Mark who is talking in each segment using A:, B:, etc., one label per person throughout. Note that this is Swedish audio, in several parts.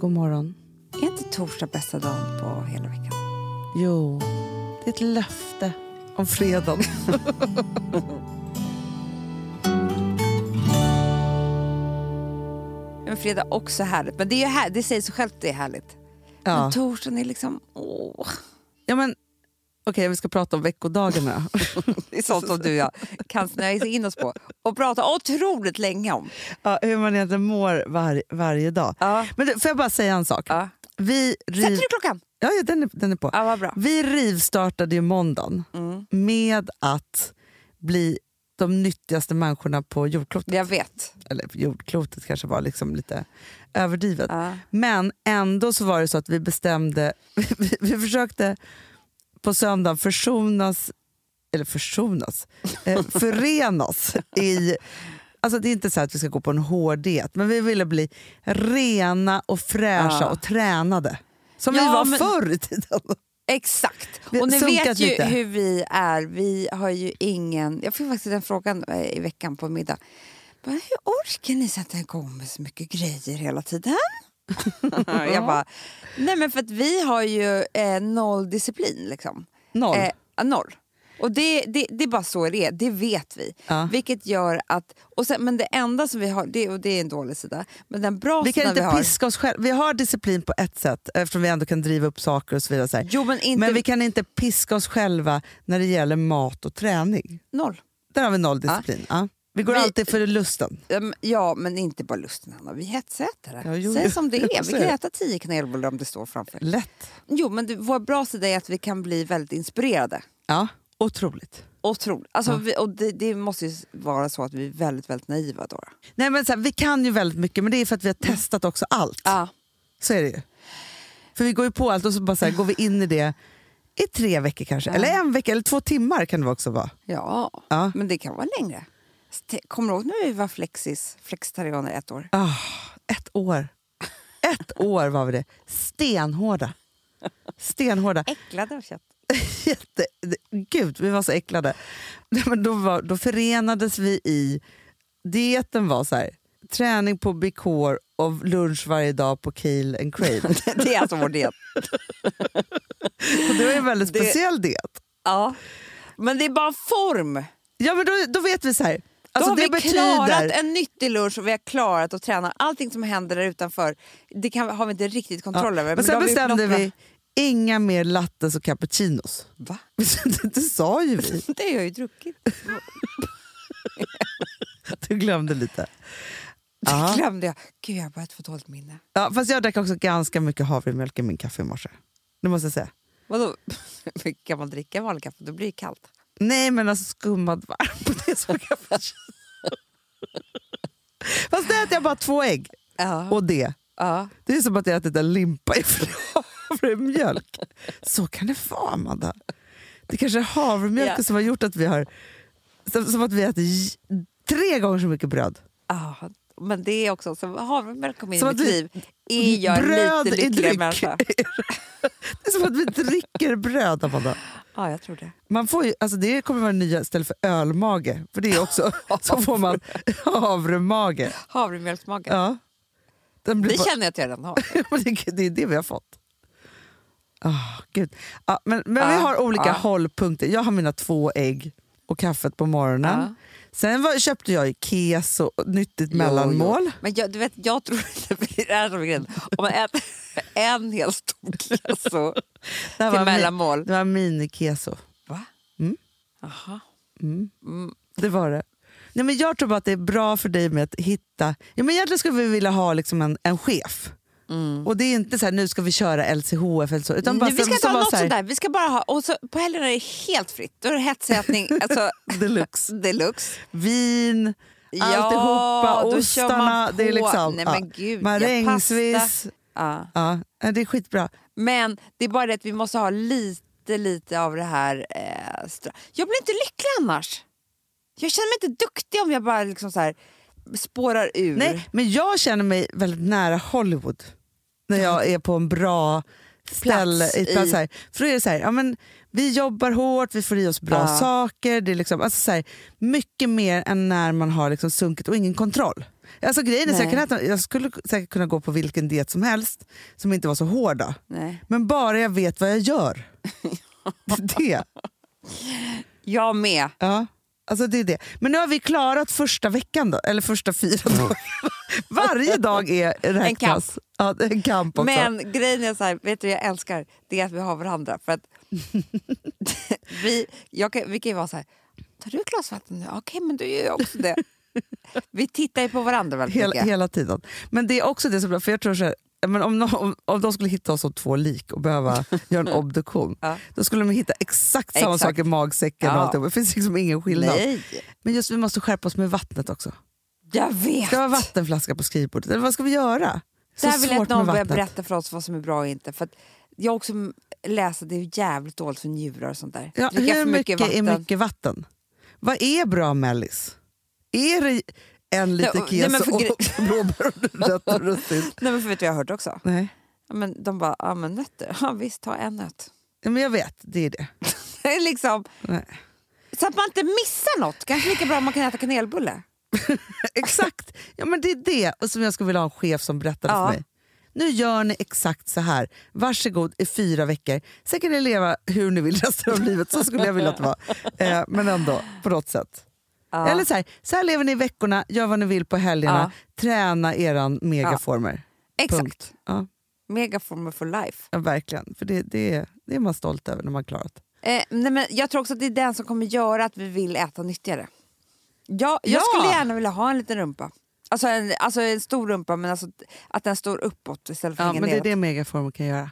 A: god morgon.
B: Är inte torsdag bästa dagen på hela veckan?
A: Jo, det är ett löfte om fredagen.
B: Men fredag också härligt. Men det, är ju här, det säger sig självt att det är härligt. Men torsdagen är liksom... Åh.
A: ja men, Okej, vi ska prata om veckodagarna.
B: Det är sånt som du och jag kan snöa in oss på och prata otroligt länge om.
A: ja, hur man egentligen mår var, varje dag.
B: Ja.
A: Men du, får jag bara säga en sak?
B: Ja.
A: Vi riv...
B: Sätter du klockan?
A: ja, ja, den, är, den är på.
B: Ja, vad bra.
A: Vi rivstartade ju måndagen
B: Mm.
A: med att bli de nyttigaste människorna på jordklotet.
B: Jag vet.
A: Eller jordklotet kanske var liksom lite överdrivet.
B: Ja.
A: Men ändå så var det så att vi bestämde, vi, vi försökte på söndagen försonas, eller försonas, eh, förenas i, alltså det är inte så att vi ska gå på en hård diet, men vi ville bli rena och fräscha
B: Ja.
A: och tränade. Som vi
B: Ja,
A: var
B: men-
A: förr i tiden.
B: Exakt.
A: Vi har
B: Och ni
A: sunkat
B: vet ju
A: lite.
B: hur vi är. Vi har ju ingen... Jag fick faktiskt den frågan eh, i veckan på middag. Men hur orkar ni sätta igång med så mycket grejer hela tiden? jag bara, nej men för att vi har ju eh, noll disciplin liksom.
A: Noll.
B: Eh, ja, noll. Och det, det, det är bara så det är, det vet vi.
A: Ja.
B: Vilket gör att, och sen, men det enda som vi har, det, och det är en dålig sida, men den bra
A: vi kan
B: sidan vi
A: inte
B: har...
A: piska oss själva. Vi har disciplin på ett sätt eftersom vi ändå kan driva upp saker och så vidare. Så här.
B: Jo men inte,
A: Men vi kan inte piska oss själva när det gäller mat och träning.
B: noll.
A: Där har vi noll disciplin. Ja. Vi går
B: Vi-
A: alltid för lusten.
B: Ehm, Ja, men inte bara lusten Hanna, vi hetsätare.
A: Ja, jo,
B: Säg
A: jo,
B: som det
A: jo,
B: är, vi
A: så
B: kan
A: är det.
B: äta tio kanelbullar om det står framför.
A: Lätt.
B: Jo men det, vår bra sida är att vi kan bli väldigt inspirerade.
A: Ja, otroligt.
B: Otroligt. Alltså, vi, och det, det måste ju vara så att vi är väldigt, väldigt naiva då.
A: Nej, men så här, vi kan ju väldigt mycket, men det är för att vi har testat också allt.
B: Ja.
A: Så är det ju. För vi går ju på allt och så bara så här, går vi in i det i tre veckor kanske. Eller en vecka, eller två timmar kan det också vara.
B: Ja,
A: Ja.
B: men det kan vara längre. Så te- Kommer du ihåg när vi var flexis, flexitarianer ett år?
A: Ah, ett år. Ett år var vi det. Stenhårda. Stenhårda.
B: Äcklade av kött.
A: Jätte, gud, vi var så äcklade. Nej, Men då, var, då förenades vi i... Dieten var så här, träning på Bicor och lunch varje dag på Keel and Crave.
B: Det är alltså vår diet.
A: Och det var ju en väldigt
B: Det-
A: speciell diet.
B: Ja. Men det är bara form.
A: Ja, men då, då vet vi så här.
B: Då
A: Alltså,
B: har
A: det
B: vi klarat
A: betyder...
B: en nyttig lunch och vi har klarat att träna. Allting som händer där utanför det kan, har vi inte riktigt kontroll
A: men
B: över. då
A: sen
B: har vi
A: bestämde
B: nått
A: vi inga mer lattes och cappuccinos.
B: bra- Va?
A: det, det sa ju vi.
B: Det har jag ju druckit.
A: Du glömde lite. Ja.
B: Det glömde jag. Gud, jag har börjat få dåligt minne.
A: Ja, fast jag drack också ganska mycket havremjölk i min kaffe i morse. Det måste jag säga.
B: Vadå? kan man dricka vanlig kaffe? Då blir det kallt.
A: Nej, men alltså skummad varm. Det är så cappuccino. Fast det äter jag bara två ägg
B: Ja.
A: och det.
B: ja.
A: Det är som att jag ätit en limpa i havremjölk. Så kan det vara, Amanda. Det kanske är havremjölken
B: Ja.
A: som har gjort att vi har... Som som att vi äter j- tre gånger så mycket bröd.
B: Ja, men det är också så havremjölk kom in i
A: Som
B: mitt
A: att vi-
B: liv. Är jag
A: bröd
B: lite
A: i
B: lyckligare
A: dryck.
B: människa?
A: Det är som att vi dricker bröd, Amanda.
B: Ja, jag tror det.
A: Man får ju, alltså det kommer vara det nya istället för ölmage. För det är också, så får man havremage.
B: Havremjölksmage.
A: Ja. Den blir
B: Det
A: bara-
B: känner jag att jag redan har.
A: Men det, det är det vi har fått. Ah, Gud. Ja, men men vi
B: Ja,
A: har olika
B: ja.
A: hållpunkter. Jag har mina två ägg och kaffet på morgonen.
B: Ja.
A: Sen var, köpte jag ju keso, nyttigt mellanmål.
B: Ah. Jo, jo. Men jag, du vet, jag tror inte det är som är grejen. Om man äter en hel stor keso
A: Det här
B: till
A: var mi-
B: mellanmål.
A: Det var minikeso.
B: Va?
A: Mm.
B: Jaha.
A: Mm.
B: Mm.
A: Det var det. Nej, men jag tror bara att det är bra för dig med att hitta... Ja, men egentligen skulle vi vilja ha liksom en, en chef.
B: Mm.
A: Och det är inte så här, nu ska vi köra LCHF eller så. Utan
B: Nu,
A: bara,
B: vi ska
A: som-
B: inte
A: som
B: ha
A: var
B: något
A: så här,
B: sånt där. Vi ska bara ha, och så, på helgerna är det helt fritt. Då är det hetsätning alltså,
A: Deluxe.
B: deluxe.
A: Vin,
B: Ja,
A: alltihopa,
B: då kör man
A: ostarna. Det är
B: på.
A: liksom,
B: Nej,
A: ja.
B: men gud, ja, pasta. Mm.
A: Marängsviss.
B: Ja.
A: Ja, ja, det är skitbra.
B: Men det är bara det att vi måste ha lite, lite av det här... Eh, stra- jag blir inte lycklig annars. Jag känner mig inte duktig om jag bara liksom så här spårar ur.
A: Nej, men jag känner mig väldigt nära Hollywood när jag är på en bra ställe.
B: Plats
A: I, plats
B: i-
A: så här. För då är det så här, ja, men vi jobbar hårt, vi får i oss bra
B: Ja.
A: saker. Det är liksom, alltså så här, mycket mer än när man har liksom sunkit och ingen kontroll. Alltså, grejen är, så jag,
B: Nej.
A: kan äta, jag skulle säkert kunna gå på vilken diet som helst som inte var så hårda.
B: Nej.
A: Men bara jag vet vad jag gör. Det är det.
B: Jag med.
A: Ja. Alltså det är det. Men nu har vi klarat första veckan, då, eller första fyra dagarna. Varje dag är räknas. Ja, det är en kamp också.
B: Men grejen är så här, vet du jag älskar? Det är att vi har varandra. För att vi, jag kan, vi kan ju vara så här, tar du ett glas vatten nu? Okej, men då gör jag också det. Vi tittar ju på varandra väldigt
A: Hela,
B: mycket.
A: hela tiden. Men det är också det som blir, för jag tror så här, men om, nå- om, om de skulle hitta oss som två lik och behöva göra en obduktion,
B: Ja.
A: då skulle de hitta exakt samma
B: Exakt.
A: sak i magsäcken.
B: Ja.
A: Och allt. det. det finns liksom ingen skillnad.
B: Nej,
A: Men just vi måste skärpa oss med vattnet också.
B: jag vet!
A: Ska vi ha vattenflaska på skrivbordet? Eller vad ska vi göra? Så
B: Där vill jag
A: svårt
B: att någon
A: med
B: börjar
A: vattnet.
B: berätta för oss vad som är bra och inte. För att jag också m- läser, det är jävligt dåligt för njurar och sånt där.
A: Ja,
B: Dricka
A: hur
B: för mycket
A: mycket, är
B: vatten.
A: mycket vatten? Vad är bra mellis? Är det en liten
B: och- nej, men
A: keso
B: för
A: och
B: gre-
A: blåbär och rött och russin?
B: Nej, men för vet du vad jag hörde också?
A: Nej,
B: Ja, Men de bara, ja men nötter, ja visst ta en nöt.
A: Ja, men jag vet. Det är det.
B: Det är liksom,
A: Nej.
B: så att man inte missar något. Kanske lika bra om man kan äta kanelbulle.
A: Exakt! Ja, men det är det och som jag skulle vilja ha en chef som berättade
B: Ja.
A: för mig. Nu gör ni exakt så här. Varsågod i fyra veckor. Sen kan ni leva hur ni vill resten av livet. Så skulle jag vilja att det var. Eh, men ändå, på något sätt.
B: Ja.
A: Eller så här, så här lever ni i veckorna, gör vad ni vill på helgerna. Träna eran megaformer.
B: Exakt.
A: Punkt. Ja,
B: Megaformer for life.
A: ja, verkligen. För det, det, är- det är man stolt över när man klarat.
B: Eh, nej, men jag tror också att det är den som kommer göra att vi vill äta nyttigare. Ja, jag
A: Ja!
B: skulle gärna vilja ha en liten rumpa. Alltså en, alltså en stor rumpa, men alltså att den står uppåt istället för att
A: Ja,
B: hänga
A: men det är
B: neråt.
A: det megaformer kan göra.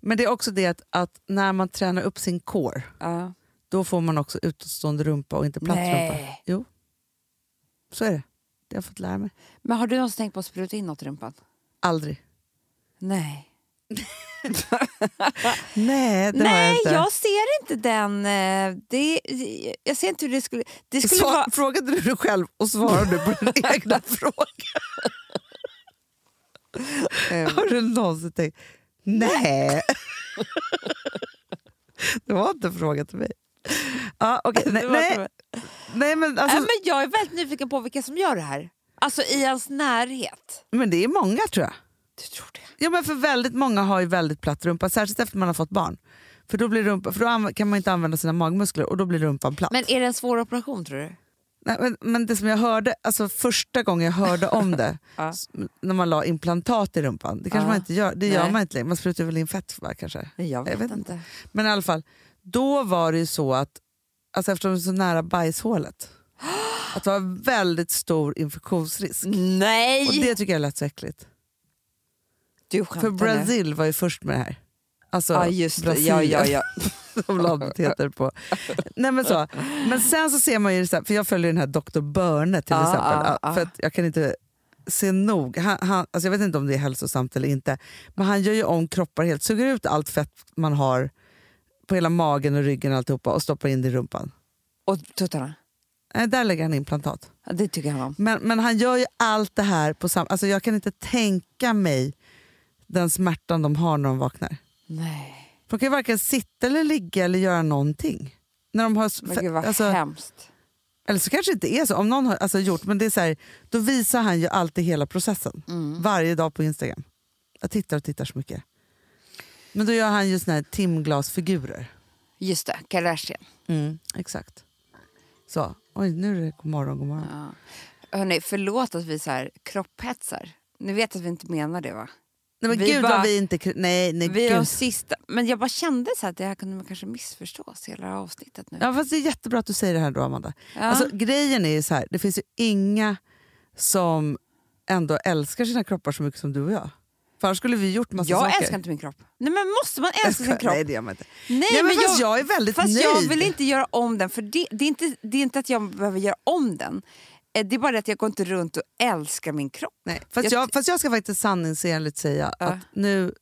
A: Men det är också det att, att när man tränar upp sin core
B: Ja.
A: då får man också utåtstående rumpa och inte platt rumpa.
B: Nej.
A: Jo, så är det. Det har jag fått lära mig.
B: Men har du någonsin tänkt på att spruta in något i rumpan?
A: Aldrig.
B: Nej.
A: Nej, det har jag
B: Nej,
A: inte.
B: jag, ser inte den. eh, Det, jag ser inte hur det skulle... Det skulle
A: Svar-
B: vara...
A: Frågade du dig själv och svarade du på din egna fråga? Har du någonsin tänkt? Nej. det var inte en fråga till mig. Ja, okej.
B: Det
A: nej,
B: var-
A: nej, nej, men,
B: Äh,
A: alltså,
B: men jag är väldigt nyfiken på vilka som gör det här. Alltså i ens närhet.
A: men det är många tror jag.
B: Du tror det?
A: Ja, men för väldigt många har ju väldigt platt rumpa, särskilt efter man har fått barn. För då, blir rumpa, för då anv- kan man inte använda sina magmuskler och då blir rumpan platt.
B: Men är det en svår operation tror du?
A: Nej, men, men det som jag hörde, alltså första gången jag hörde om det,
B: Ja.
A: s- när man la implantat i rumpan, det kanske
B: Ja.
A: man inte gör, det gör
B: Nej.
A: man inte längre, man sprutar väl in fett va, kanske.
B: Jag vet,
A: vet
B: inte.
A: Men i alla fall, då var det ju så att, alltså eftersom det var så nära bajshålet, att det var väldigt stor infektionsrisk.
B: Nej!
A: Och det tycker jag lät så äckligt.
B: Du
A: För
B: skämtar nu.
A: Brasil var ju först med det här. Alltså,
B: Ja, just det. Ja, ja, ja.
A: som landet heter på. Nej, men, så. men sen så ser man ju, så här- för jag följer den här Dr. Börne till
B: Ja,
A: exempel.
B: ja,
A: Ja,
B: ja.
A: För att jag kan inte se nog. Han, han, alltså jag vet inte om det är hälsosamt eller inte. Men han gör ju om kroppar helt, suger ut allt fett man har på hela magen och ryggen och alltihopa och stoppar in det i rumpan.
B: Och tuttarna.
A: Nej, Eh, där lägger han implantat.
B: Ja, Det tycker han om.
A: Men, men han gör ju allt det här på samma... Alltså jag kan inte tänka mig den smärtan de har när de vaknar.
B: Nej.
A: De kan ju varken sitta eller ligga eller göra någonting. När de har, s-
B: Men gud vad
A: alltså,
B: hemskt.
A: eller så kanske det inte är så, om någon har alltså, gjort, men det är så här, då visar han ju alltid hela processen.
B: Mm.
A: Varje dag på Instagram. Jag tittar och tittar så mycket. Men då gör han ju såna här timglasfigurer.
B: Just det, Kardashian.
A: Exakt. Så, oj nu är det god morgon, god morgon.
B: Ja. Hörrni, förlåt att vi så här kropphetsar. Ni vet att vi inte menar det va?
A: Nej men
B: Vi
A: gud
B: bara-
A: vad vi inte... kri- Nej, nej
B: Vi är de
A: gud.
B: sista. Men jag bara kände så här att det här kunde man kanske missförstås hela det här avsnittet nu.
A: Ja fast det är jättebra att du säger det här då Amanda.
B: Ja.
A: Alltså, grejen är ju så här, det finns ju inga som ändå älskar sina kroppar så mycket som du och jag. För annars skulle vi gjort massa
B: jag
A: saker.
B: älskar inte min kropp. Nej men måste man älska sin kropp?
A: Nej det gör man inte.
B: Nej,
A: Nej, men fast jag är väldigt
B: fast
A: nöjd.
B: jag vill inte göra om den. För det, det, är inte, det är inte att jag behöver göra om den. Eh, Det är bara det att jag går inte runt och älskar min kropp.
A: Nej, fast,
B: Jag-
A: jag, fast jag ska faktiskt sanningsenligt säga
B: Ja.
A: att nu,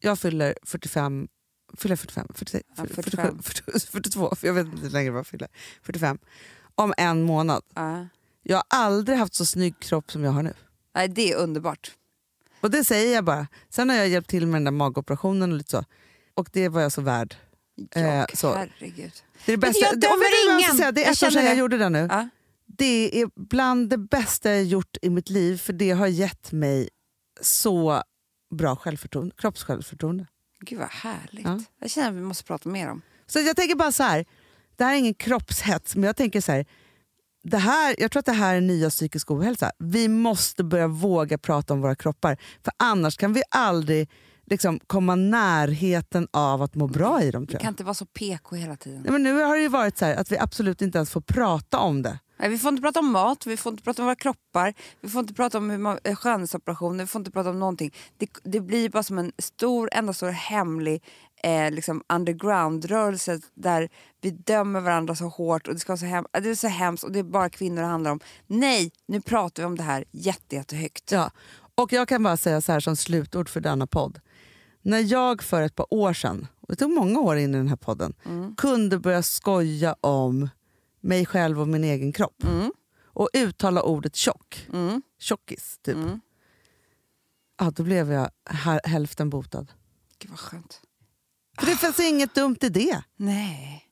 A: jag fyller 45, fyller jag 45, 46,
B: Ja,
A: 47,
B: 45.
A: 47, 42, för jag vet inte hur länge vad jag fyller, 45, om en månad.
B: Ja.
A: Jag har aldrig haft så snygg kropp som jag har nu.
B: Nej, det är underbart.
A: Och det säger jag bara. Sen har jag hjälpt till med den där magoperationen och lite så. Och det var jag så värd.
B: Jag,
A: Eh, så.
B: Herregud.
A: Det är det
B: Men
A: bästa.
B: jag dömer
A: om jag nu
B: ingen.
A: ska säga, det är
B: Jag
A: ett år sedan
B: känner
A: jag
B: det.
A: gjorde det nu.
B: Ja.
A: det är bland det bästa jag gjort i mitt liv för det har gett mig så bra självförtroende, kroppssjälvförtroende.
B: Gud vad härligt.
A: Ja.
B: Jag känner att vi måste prata mer om.
A: Så jag tänker bara så här, det här är ingen kroppshets, men jag tänker så här, det här, jag tror att det här är nya psykisk ohälsa. Vi måste börja våga prata om våra kroppar, för annars kan vi aldrig liksom, komma närheten av att må bra i dem. Tror
B: Vi kan
A: jag.
B: inte vara så PK hela tiden.
A: Nej, men nu har det ju varit så här att vi absolut inte ens får prata om det.
B: Nej, vi får inte prata om mat, vi får inte prata om våra kroppar, vi får inte prata om hur man, eh, skönhetsoperationer, vi får inte prata om någonting. Det, det blir bara som en stor, enda stor hemlig eh, liksom underground-rörelse där vi dömer varandra så hårt och det, ska vara så hem, eh, det är så hemskt och det är bara kvinnor det handlar om. Nej, nu pratar vi om det här jätte, jättehögt.
A: Ja. Och jag kan bara säga så här som slutord för denna podd. När jag för ett par år sedan, och det tog många år in i den här podden,
B: Mm.
A: kunde börja skoja om mig själv och min egen kropp och uttala ordet tjock,
B: Mm.
A: tjockis, typ.
B: Mm.
A: Ja, då blev jag här, hälften botad.
B: Gud vad skönt.
A: För det fanns inget dumt i det.
B: Nej.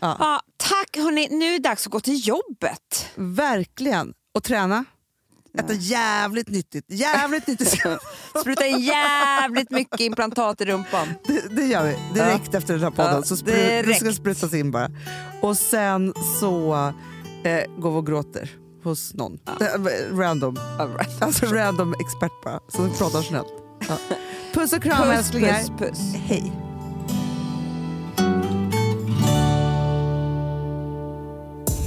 A: Ja.
B: Ja, tack hörni, nu är det dags att gå till jobbet.
A: Verkligen. Och träna. Äta jävligt nyttigt. Jävligt nyttigt.
B: Spruta in jävligt mycket implantat i rumpan.
A: Det, det gör vi direkt efter den här podden.
B: Ja,
A: Så spru- det ska
B: direkt.
A: sprutas in bara. Och sen så eh, går vi och gråter hos någon. Eh, Random. Alltså random expert bara, som pratar snällt. Ja. Puss och kram
B: Puss,
A: älsklingar.
B: puss, puss.
A: Hej.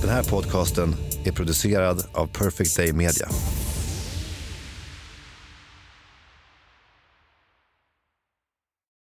C: Den här podcasten är producerad av Perfect Day Media.